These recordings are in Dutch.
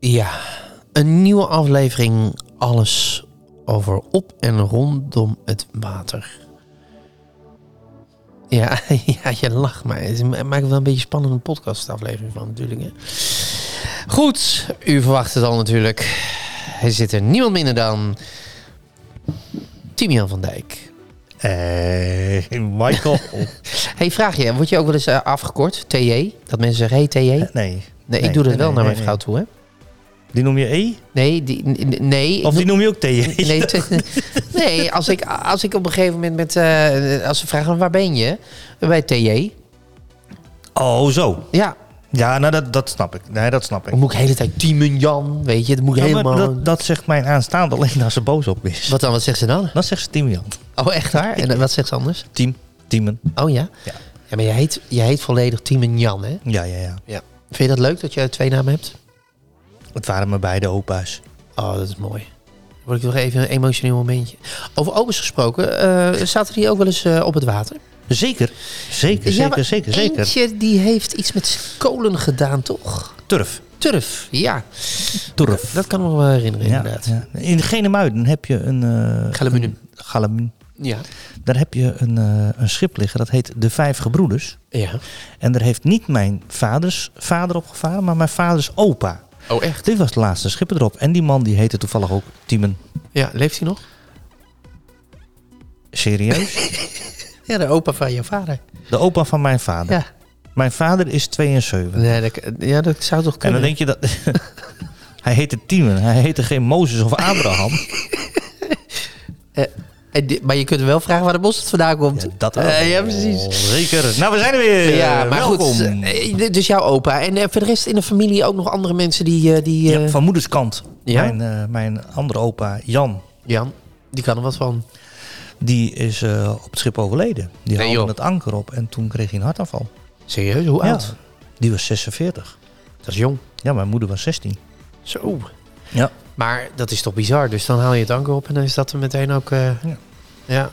Ja, een nieuwe aflevering. Alles over op en rondom het water. Ja, ja je lacht maar. Het maakt wel een beetje spannende podcastaflevering van natuurlijk. Hè? Goed, u verwacht het al natuurlijk. Er zit er niemand minder dan Timian van Dijk. Hey, Michael. hey, vraag je, word je ook wel eens eh, afgekort? TJ? Dat mensen zeggen, hey TJ? Nee, nee. ik doe dat wel Eh, nee, nee, naar nee, mijn vrouw toe, hè? Die noem je E? Nee, die, n- n- nee. ik Of die noem- noem je ook TJ? Nee, t- nee als, ik, als ik op een gegeven moment met... eh, als ze vragen, waar ben je? Bij TJ. Oh, zo. Ja, Ja, nou, dat, dat snap ik. Nee, dat snap ik. dan moet ik de hele tijd Timen Jan, weet je. Dat moet ik Ja, Oh, maar helemaal... dat, dat zegt mijn aanstaande alleen als ze boos op is. Wat dan, wat zegt ze dan? Dan zegt ze Timian. Oh, echt waar? En eh, wat zegt ze anders? Team. Tiemen. Oh ja? Ja. Ja, maar je heet, je heet volledig Timen Jan, hè? Ja, ja, ja. Ja. Vind je dat leuk dat je twee namen hebt? Het waren mijn beide opa's. Oh, dat is mooi. Dan Word ik nog even een emotioneel momentje. Over obers gesproken, eh, zaten die ook wel eens eh, op het water? Zeker. Zeker, Ja, zeker, maar zeker, zeker. Eentje die heeft iets met kolen gedaan, toch? Turf. Turf, ja. Turf. Dat kan ik me wel herinneren, Ja, inderdaad. ja. In Genemuiden heb je een... eh Galamunen. een- Galamunen. Ja. Daar heb je een, eh, een schip liggen. Dat heet De Vijf Gebroeders. ja. En daar heeft niet mijn vaders vader op gevaren, maar mijn vaders opa. Oh, echt? Dit was de laatste schipper erop. En die man die heette toevallig ook Timen. Ja, leeft hij nog? Serieus? Ja, de opa van je vader. De opa van mijn vader. Ja. Mijn vader is 72. Nee, dat, ja, dat zou toch En dan kunnen. denk je dat... hij heette Timen. Hij heette geen Mozes of Abraham. En di- maar je kunt wel vragen waar de bos vandaan komt. Ja, dat ook. Eh, ja, precies. Oh, zeker. Nou, we zijn er weer. Ja, Eh, maar Welkom. goed. eh, d- Dus jouw opa. En eh, voor de rest in de familie ook nog andere mensen die... eh, die eh, Ja, van moeders kant. Ja? Mijn, eh, mijn andere opa, Jan, Jan, die kan er wat van. die is eh, op het schip overleden. Die Nee, joh. haalde het anker op en toen kreeg hij een hartaanval. Serieus, hoe Ja, oud? die was 46. Dat is jong. Ja, mijn moeder was 16. Zo. Ja. Maar dat is toch bizar. Dus dan haal je het anker op en dan is dat er meteen ook... eh, ja. Ja.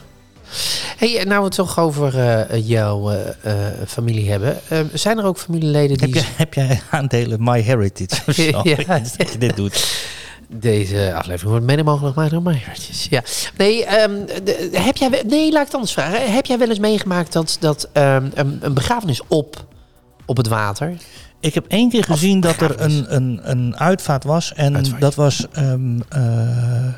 hey, en nou we het toch over eh, jouw eh, eh, familie hebben. Eh, zijn er ook familieleden Heb, die... je, heb jij aandelen My Heritage of zo? Ja. Ik wist dat je dit doet. Deze aflevering wordt mede mogelijk gemaakt door Meijertjes. Ja. Nee, ehm, de- heb jij, we- nee, laat ik het anders vragen. Heb jij wel eens meegemaakt dat, dat ehm, een, een begrafenis op, op het water... Ik heb één keer gezien dat er begrafenis. een, een, een uitvaart was. En Uitvaart. dat was ehm, eh,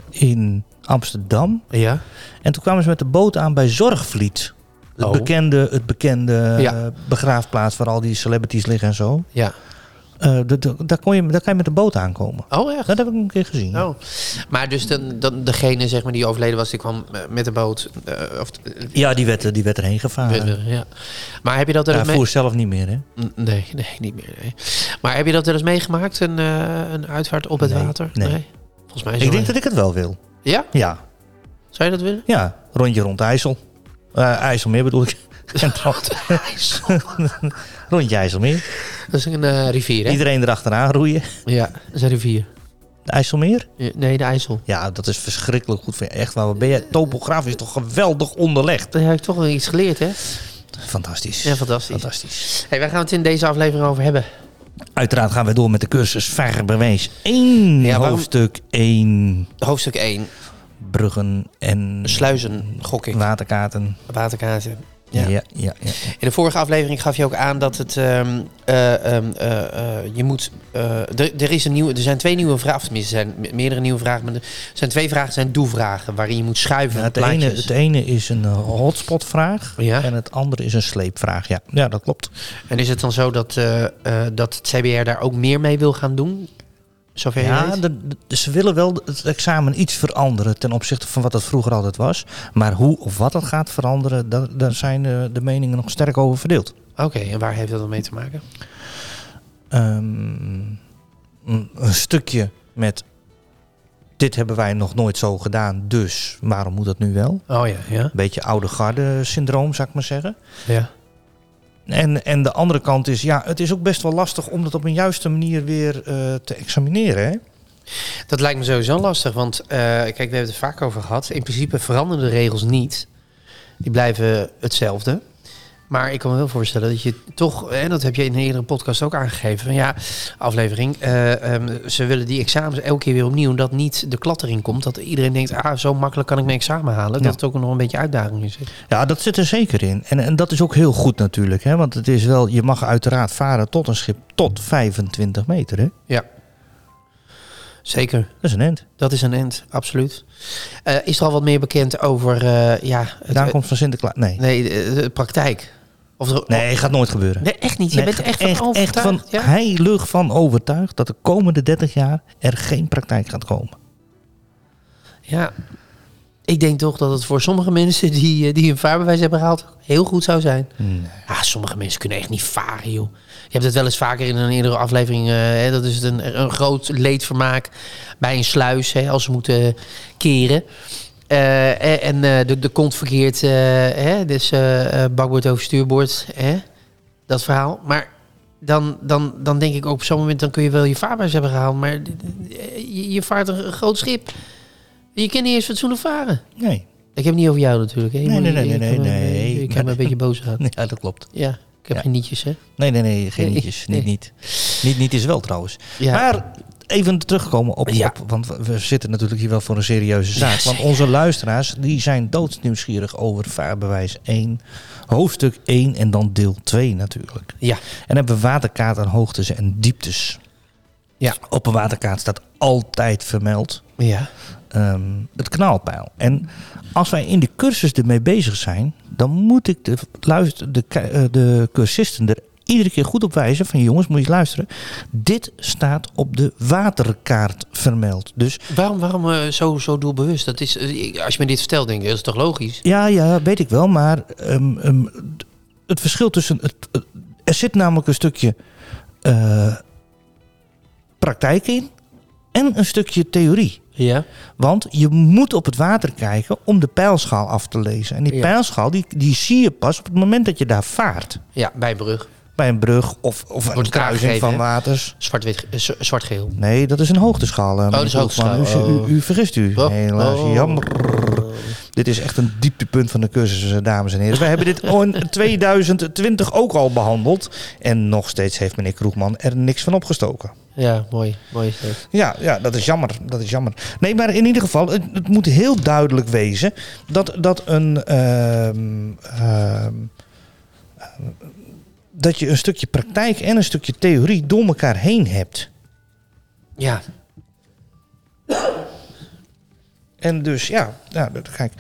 in Amsterdam. Ja. En toen kwamen ze met de boot aan bij Zorgvliet. Het Oh. bekende, het bekende Ja. eh, begraafplaats waar al die celebrities liggen en zo. Ja. Eh, dat- dat- daar, kon je, daar kan je met de boot aankomen. Oh, echt? Dat heb ik een keer gezien. Oh. Maar dus dan, dan degene zeg maar, die overleden was, die kwam eh, met een boot. eh, of, eh, Ja, die werd, die werd erheen gevaren. eh, ja. Maar heb je dat er Hij eens mee- voer zelf niet meer, hè? N- Nee, nee, niet meer. nee. Maar heb je dat er eens meegemaakt, een, eh, een uitvaart op het Nee, water? nee. Volgens mij is Ik denk dat ik het wel wil. Ja? Ja, Zou je dat willen? Ja, rondje rond IJssel. Eh IJsselmeer bedoel ik. En dan- rondje IJsselmeer. Dat is een eh, rivier, hè? Iedereen erachteraan roeien. Ja, dat is een rivier. De IJsselmeer? Ja, Nee, de IJssel. Ja, dat is verschrikkelijk goed. voor je. Echt waar, wat ben je? Topografisch toch geweldig onderlegd. Daar heb ik toch wel iets geleerd, hè? Fantastisch. Ja, fantastisch. Fantastisch. Hey, waar gaan we het in deze aflevering over hebben? Uiteraard gaan we door met de cursus Vaarbewijs 1. Ja, waarom- Hoofdstuk 1. Hoofdstuk 1. Bruggen en Sluizen, gok ik. waterkaarten. Waterkaarten. Ja. Ja. Ja, ja, ja. In de vorige aflevering gaf je ook aan dat het. ehm, eh, ehm, eh, eh, je moet. eh, d- er, is een nieuwe, er zijn twee nieuwe vragen. Of tenminste, er zijn me- meerdere nieuwe vragen. Maar er zijn twee vragen, zijn doe-vragen. Waarin je moet schuiven. Ja, met het, ene, plaatjes. het ene is een eh, hotspotvraag Ja. en het andere is een sleepvraag. Ja, ja dat klopt. En is het dan zo dat, eh, eh, dat het CBR daar ook meer mee wil gaan doen? Zover je Ja, weet? de- de- ze willen wel het examen iets veranderen ten opzichte van wat het vroeger altijd was. Maar hoe of wat het gaat veranderen, da- daar zijn eh, de meningen nog sterk over verdeeld. Oké, en waar heeft dat dan mee te maken? Ehm, een een stukje met dit hebben wij nog nooit zo gedaan, dus waarom moet dat nu wel? Oh ja, ja. Een beetje oude garde syndroom, zou ik maar zeggen. ja. En, en de andere kant is, ja, het is ook best wel lastig om dat op een juiste manier weer eh, te examineren. Hè? Dat lijkt me sowieso lastig, want eh, kijk, we hebben het er vaak over gehad. In principe veranderen de regels niet. Die blijven hetzelfde. Maar ik kan me wel voorstellen dat je toch, en dat heb je in een eerdere podcast ook aangegeven, van ja, aflevering, eh, ehm, ze willen die examens elke keer weer opnieuw, dat niet de klat erin komt, dat iedereen denkt, ah, zo makkelijk kan ik mijn examen halen, Ja. dat het ook nog een beetje uitdaging is. Ja, dat zit er zeker in. En, en dat is ook heel goed natuurlijk. Hè? Want het is wel, je mag uiteraard varen tot een schip tot 25 meter. Hè? Zeker, Dat is een end. dat is een end, absoluut. Eh, is er al wat meer bekend over, eh, ja, De het, aankomst van Sinterklaas. Nee. nee, de, de praktijk? Of er, Nee, gaat nooit gebeuren. Nee, echt niet. Je Nee, bent er echt van overtuigd. van ja? heilig van overtuigd dat de komende 30 jaar er geen praktijk gaat komen. ja. Ik denk toch dat het voor sommige mensen die, eh, die hun vaarbewijs hebben gehaald heel goed zou zijn. Ja, sommige mensen kunnen echt niet varen, joh. Je hebt het wel eens vaker in een eerdere aflevering. eh, hè, dat is het een, een groot leedvermaak bij een sluis hè, als ze moeten keren. Eh, eh, en eh, de, de kont verkeerd, eh, hè, dus eh, eh, bakboord over stuurboord, hè, dat verhaal. Maar dan, dan, dan denk ik ook op zo'n moment, dan kun je wel je vaarbewijs hebben gehaald. Maar d- d- eh, je, je vaart een groot schip. Je kan niet eens fatsoenlijk varen. Nee. Ik heb het niet over jou natuurlijk. Hè. Je Nee, moet- nee, nee, je- je nee, kan me- nee, Je kan nee. me een beetje boos aan. Ja, dat klopt. Ja, ik heb Ja. geen nietjes, hè? Nee, nee, nee, geen Nee, nietjes. nee. Niet, niet. Niet, niet is wel trouwens. Ja. Maar even terugkomen op, Ja. op- want we- we zitten natuurlijk hier wel voor een serieuze zaak. want zeker. onze luisteraars die zijn doodsnieuwsgierig over vaarbewijs 1, hoofdstuk 1 en dan deel 2 natuurlijk. Ja. En hebben we waterkaart aan hoogtes en dieptes. Ja. Op een waterkaart staat altijd vermeld Ja. ehm, het knaalpijl. En als wij in de cursus ermee bezig zijn, dan moet ik de, luister, de, ki- eh, de cursisten er iedere keer goed op wijzen van jongens, moet je eens luisteren. Dit staat op de waterkaart vermeld. Dus Waarom, waarom eh, zo, zo doelbewust? Dat is, eh, ik- als je me dit vertelt, denk ik, dat is toch logisch? ja, ja, weet ik wel, maar ehm, ehm, d- het verschil tussen... Het, het- er zit namelijk een stukje eh, praktijk in en een stukje theorie. Ja. Want je moet op het water kijken om de pijlschaal af te lezen. En die Ja. pijlschaal die, die zie je pas op het moment dat je daar vaart. Ja, bij brug. Bij een brug of, of een Wordt het kruising aangegeven, van hè? waters. Zwart-wit, eh, z- zwart-geel. Nee, dat is een hoogteschaal. eh, meneer Oh, is Koopman. hoogteschaal, U, oh. u, u vergist u. Oh, Helaas, oh. jammer. Dit is echt een dieptepunt van de cursus, eh, dames en heren. We hebben dit in 2020 ook al behandeld. En nog steeds heeft meneer Kroegman er niks van opgestoken. Ja, mooi. mooi is dat. Ja, ja, dat is jammer. Dat is jammer. Nee, maar in ieder geval, het, het moet heel duidelijk wezen dat, dat een. ehm, ehm, ehm, dat je een stukje praktijk en een stukje theorie door elkaar heen hebt. Ja. En dus ja, ja dat- kijk.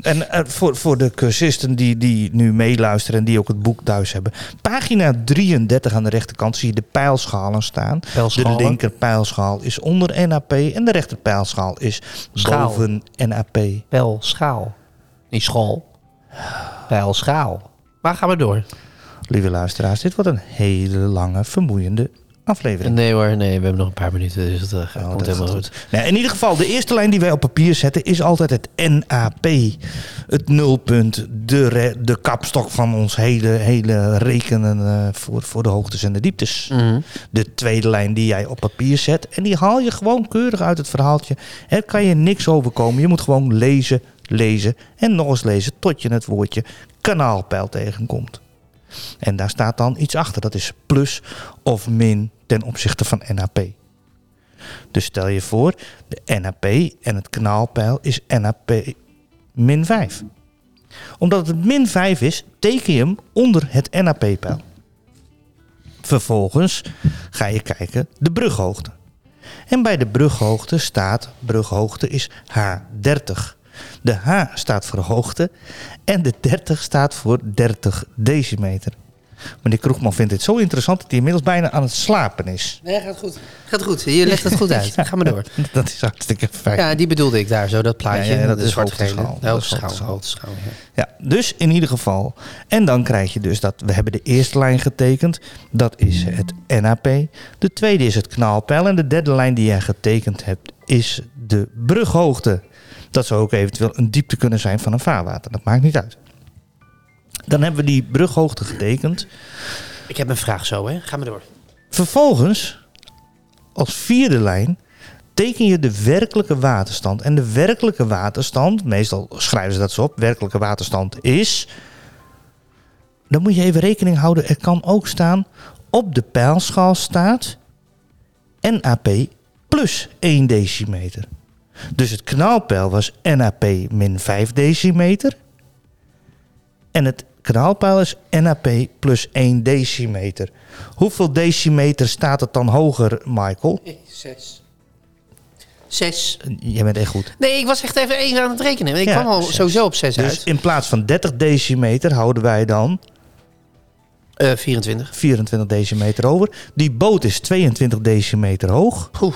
En eh, voor, voor de cursisten die, die nu meeluisteren en die ook het boek thuis hebben. Pagina 33 aan de rechterkant zie je de pijlschalen staan. Pijlschalen. De linker pijlschaal is onder NAP en de rechter pijlschaal is Schaal. boven NAP. Pijl, schaal. Niet school. Pijl, schaal. Waar gaan we door? Lieve luisteraars, dit wordt een hele lange, vermoeiende aflevering. Nee hoor, nee, we hebben nog een paar minuten, dus dat eh, Oh, komt dat helemaal gaat goed. Nou, in ieder geval, de eerste lijn die wij op papier zetten is altijd het NAP. Het nulpunt, de, re- de kapstok van ons hele, hele rekenen eh, voor, voor de hoogtes en de dieptes. Mhm. De tweede lijn die jij op papier zet. En die haal je gewoon keurig uit het verhaaltje. Er kan je niks overkomen. Je moet gewoon lezen, lezen en nog eens lezen tot je het woordje kanaalpijl tegenkomt. En daar staat dan iets achter. Dat is plus of min ten opzichte van NAP. Dus stel je voor, de NAP en het kanaalpeil is NAP min 5. Omdat het min 5 is, teken je hem onder het NAP-pijl. Vervolgens ga je kijken de brughoogte. En bij de brughoogte staat, brughoogte is H30. De H staat voor hoogte en de 30 staat voor 30 decimeter. Meneer Kroegman vindt dit zo interessant dat hij inmiddels bijna aan het slapen is. Nee, gaat goed. Gaat goed. Je legt het goed uit. Ga maar door. Dat is hartstikke fijn. Ja, die bedoelde ik daar zo, dat plaatje. Ja, ja, dat de is zwarte hoofdschaal. gele. Dat is Hoofdschaal, hoofdschaal. hoofdschaal, ja. Ja, dus in ieder geval. En dan krijg je dus dat we hebben de eerste lijn getekend. Dat is het NAP. De tweede is het knalpijl. En de derde lijn die jij getekend hebt is de brughoogte. Dat zou ook eventueel een diepte kunnen zijn van een vaarwater. Dat maakt niet uit. Dan hebben we die brughoogte getekend. Ik heb een vraag zo, hè. Ga maar door. Vervolgens, als vierde lijn, teken je de werkelijke waterstand. En de werkelijke waterstand, meestal schrijven ze dat zo op, werkelijke waterstand is... Dan moet je even rekening houden, er kan ook staan, op de pijlschaal staat NAP plus 1 decimeter. Dus het knalpeil was NAP min 5 decimeter. En het kanaalpeil is NAP plus 1 decimeter. Hoeveel decimeter staat het dan hoger, Michael? Zes. Zes. Jij bent echt goed. Nee, ik was echt even even aan het rekenen. want Ik Ja, kwam al zes. sowieso op zes Dus uit. in plaats van 30 decimeter houden wij dan Eh 24. 24 decimeter over. Die boot is 22 decimeter hoog. Oeh.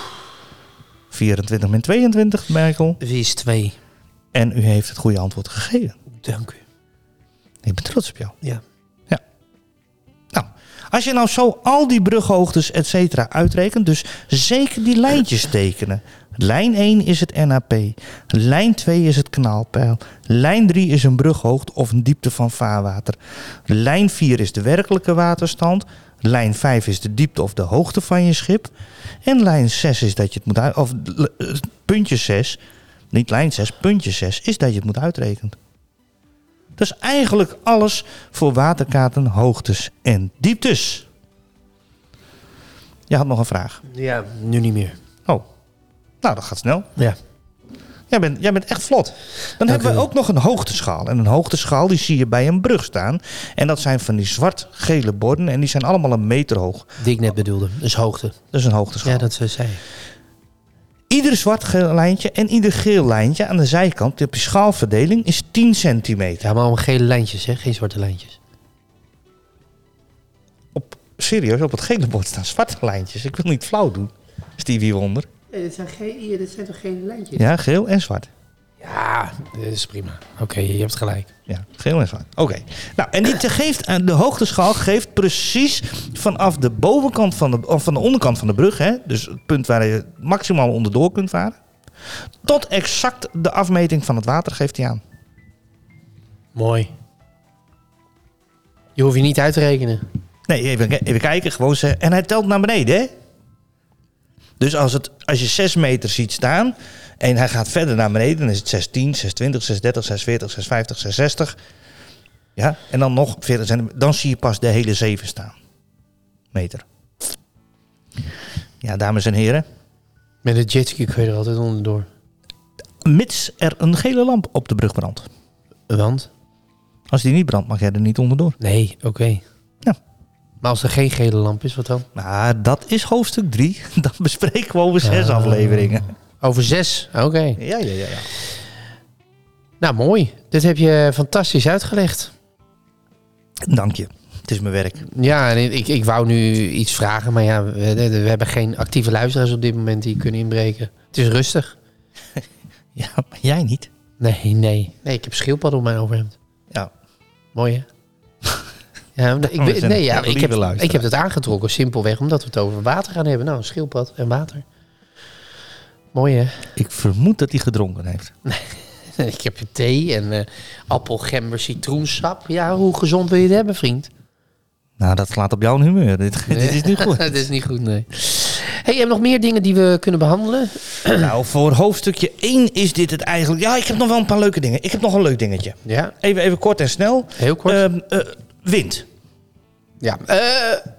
24 min 22, Michael. Wie is twee? En u heeft het goede antwoord gegeven. Dank u. Ik ben trots op jou. Ja. Nou, als je nou zo al die brughoogtes, et cetera, uitrekent, dus zeker die lijntjes tekenen. Lijn 1 is het NAP, lijn 2 is het knaalpeil, lijn 3 is een brughoogte of een diepte van vaarwater. Lijn 4 is de werkelijke waterstand, lijn 5 is de diepte of de hoogte van je schip en lijn 6 is dat je het moet uit of eh, puntje 6, niet lijn 6, puntje 6 is dat je het moet uitrekenen. Dat is eigenlijk alles voor waterkaarten, hoogtes en dieptes. Je had nog een vraag. Ja, nu niet meer. Oh, nou dat gaat snel. Ja. Jij bent, jij bent echt vlot. Dan hebben u we wel. ook nog een hoogteschaal. En een hoogteschaal die zie je bij een brug staan. En dat zijn van die zwart-gele borden. En die zijn allemaal een meter hoog. Die ik net bedoelde. Dus hoogte. Dat is een hoogteschaal. Ja, dat eh, zei ik. Ieder zwart-geel lijntje en ieder geel lijntje aan de zijkant op je schaalverdeling is 10 centimeter. Ja, maar om gele lijntjes, hè. Geen zwarte lijntjes. Op, serieus, op het gele bord staan zwarte lijntjes. Ik wil niet flauw doen. Stevie Wonder. Nee, dit zijn, zijn toch geen lijntjes? Ja, geel en zwart. Ja, dat is prima. Oké, je hebt gelijk. Ja, geel en zwart. Oké. Nou, en die te- geeft, aan- de hoogteschaal geeft precies vanaf de bovenkant van de, of van de onderkant van de brug, hè, dus het punt waar je maximaal onderdoor kunt varen, tot exact de afmeting van het water geeft hij aan. Mooi. Je hoeft je niet uit te rekenen. Nee, even, even kijken, gewoon zeggen. En hij telt naar beneden, hè? Dus als, het, als je 6 meter ziet staan en hij gaat verder naar beneden, dan is het 610, 620, 630, 640, 650, 660. Ja, en dan nog 40 centimeter. Dan zie je pas de hele 7 staan. Meter. Ja, dames en heren. Met een jetski kun je er altijd onderdoor. Mits er een gele lamp op de brug brandt. Want? Als die niet brandt, mag jij er niet onderdoor. Nee, oké. Ja. Maar als er geen gele lamp is, wat dan? Maar Nou, dat is hoofdstuk 3. Dan bespreken we over zes Ah. afleveringen. Over zes. Oké. Ja, ja, ja, ja. Nou, mooi. Dit heb je fantastisch uitgelegd. Dank je. Het is mijn werk. Ja, en ik, ik wou nu iets vragen, maar ja, we, we hebben geen actieve luisteraars op dit moment die kunnen inbreken. Het is rustig. Ja, maar jij niet. Nee, nee. Nee, ik heb schildpadden op mijn overhemd. Ja. Mooi, hè? Ja, maar Oh, We ik, ben- zijn nee, ja, een ik, lieve heb, luisteraar. ik heb dat aangetrokken, simpelweg omdat we het over water gaan hebben. Nou, een schildpad en water. Mooi, hè? Ik vermoed dat hij gedronken heeft. Ik heb thee en eh appel, gember, citroensap. Ja, hoe gezond wil je het hebben, vriend? Nou, dat slaat op jouw humeur. Dit, dit is niet goed. Dat is niet goed, nee. Hey, je hebt nog meer dingen die we kunnen behandelen? nou, voor hoofdstukje 1 is dit het eigenlijk. Ja, ik heb nog wel een paar leuke dingen. Ik heb nog een leuk dingetje. Ja, Even, even kort en snel. heel kort. Ehm, eh, wind. ja. Eh,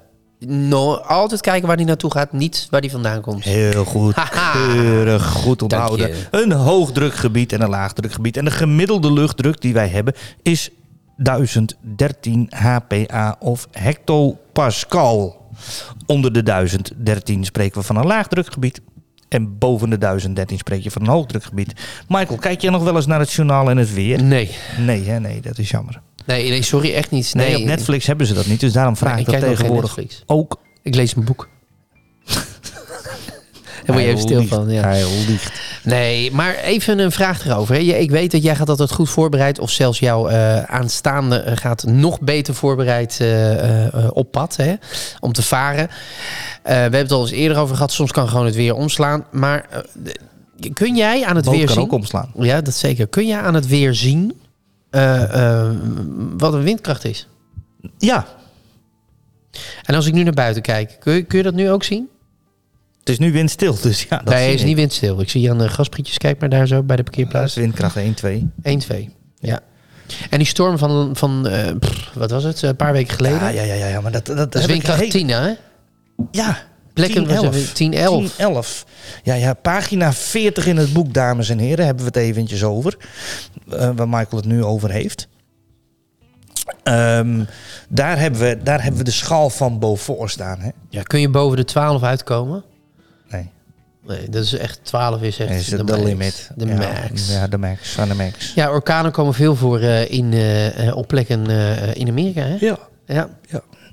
no, altijd kijken waar die naartoe gaat, niet waar die vandaan komt. Heel goed. Haha. Keurig, goed onthouden. Dank Een hoogdrukgebied en een laagdrukgebied. En de gemiddelde luchtdruk die wij hebben is 1013 HPA of hectopascal. Onder de 1013 spreken we van een laagdrukgebied. En boven de 1013 spreek je van een hoogdrukgebied. Michael, kijk jij nog wel eens naar het journaal en het weer? Nee. Nee, hè? nee, dat is jammer. Nee, nee, sorry, echt niet. Nee, op Netflix hebben ze dat niet. Dus daarom vraag Nee, ik ik dat kijk nog geen tegenwoordig Netflix. ook. Ik lees een boek. Daar word je Hij even stil liegt. van. Ja. Hij liegt. Nee, maar even een vraag erover. hè. Je- Ik weet dat jij gaat altijd goed voorbereid. Of zelfs jouw eh, aanstaande eh, gaat nog beter voorbereid eh, eh, eh, op pad. Hè, om te varen. Eh, we hebben het al eens eerder over gehad. Soms kan gewoon het weer omslaan. Maar eh, de- kun jij aan het Boot weer kan zien... ook omslaan. Ja, dat zeker. Kun jij aan het weer zien eh, eh, wat een windkracht is? Ja, En als ik nu naar buiten kijk, kun je, kun je dat nu ook zien? het is nu windstil. Dus ja, dat nee, hij zie is ik. niet windstil. Ik zie aan de gasprietjes, kijk maar daar zo bij de Dat parkeerplaats. is windkracht 1, 2. 1, 2. Ja. En die storm van, van eh, pff, wat was het, een paar weken geleden? Ja, ja, ja, ja, ja, maar dat, dat, dat is heb ik Dus windkracht heel- 10, hè? Ja, Plekken 10, 11. 10, 11. 10, 11. Ja, ja, pagina 40 in het boek, dames en heren, hebben we het eventjes over. Eh, waar Michael het nu over heeft. Ehm, daar, hebben we, daar hebben we de schaal van Beaufort staan. Hè? Ja, kun je boven de 12 uitkomen? Nee, Nee, dat is echt, 12 is echt is het de, max. limit. De ja, max. Ja, de max. Van de max. Ja, orkanen komen veel voor eh, in, eh, eh, op plekken eh, in Amerika, hè? Ja. Ja,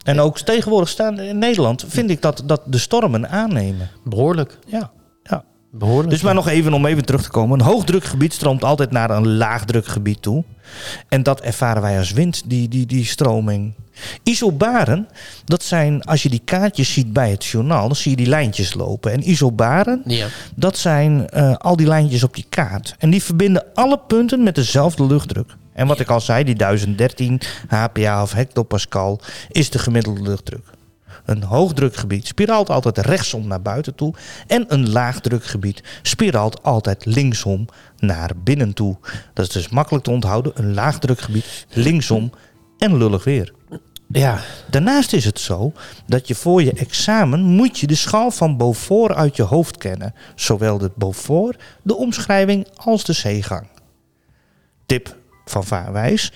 En ook tegenwoordig staan in Nederland, vind ik dat, dat de stormen aannemen. behoorlijk. Ja. ja. Behoorlijk. Dus maar nog even om even terug te komen. Een hoogdrukgebied stroomt altijd naar een laagdrukgebied toe. En dat ervaren wij als wind, die, die, die stroming. Isobaren, dat zijn, als je die kaartjes ziet bij het journaal, dan zie je die lijntjes lopen. En isobaren, Ja. dat zijn eh, al die lijntjes op die kaart. En die verbinden alle punten met dezelfde luchtdruk. En wat ik al zei, die 1013 HPA of hectopascal is de gemiddelde luchtdruk. Een hoogdrukgebied spiraalt altijd rechtsom naar buiten toe. En een laagdrukgebied spiraalt altijd linksom naar binnen toe. Dat is dus makkelijk te onthouden. Een laagdrukgebied linksom en lullig weer. Ja, Daarnaast is het zo dat je voor je examen moet je de schaal van Beaufort uit je hoofd kennen. Zowel de Beaufort, de omschrijving als de zeegang. Tip van Vaarwijs.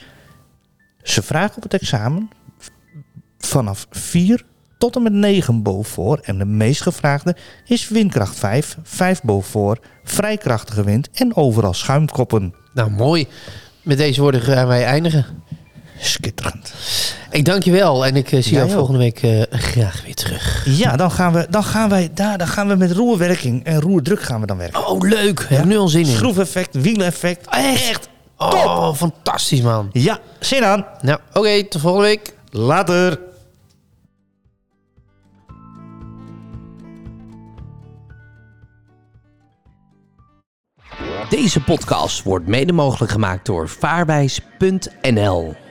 Ze vragen op het examen v- vanaf 4 tot en met 9 Beaufort. En de meest gevraagde is windkracht 5, 5 Beaufort, vrij krachtige wind en overal schuimkoppen. nou mooi. Met deze woorden gaan wij eindigen. Schitterend. Ik dank je wel en ik eh, zie Jij jou ook. volgende week eh, graag weer terug. Ja, dan gaan we, dan gaan wij, daar, dan gaan we met roerwerking en roerdruk gaan we dan werken. Oh, leuk. Heb ik nu al zin in. Schroefeffect, wieleffect. Echt? Oh, fantastisch man. Ja, zin aan. Nou, oké, tot volgende week. Later. Deze podcast wordt mede mogelijk gemaakt door vaarwijs.nl.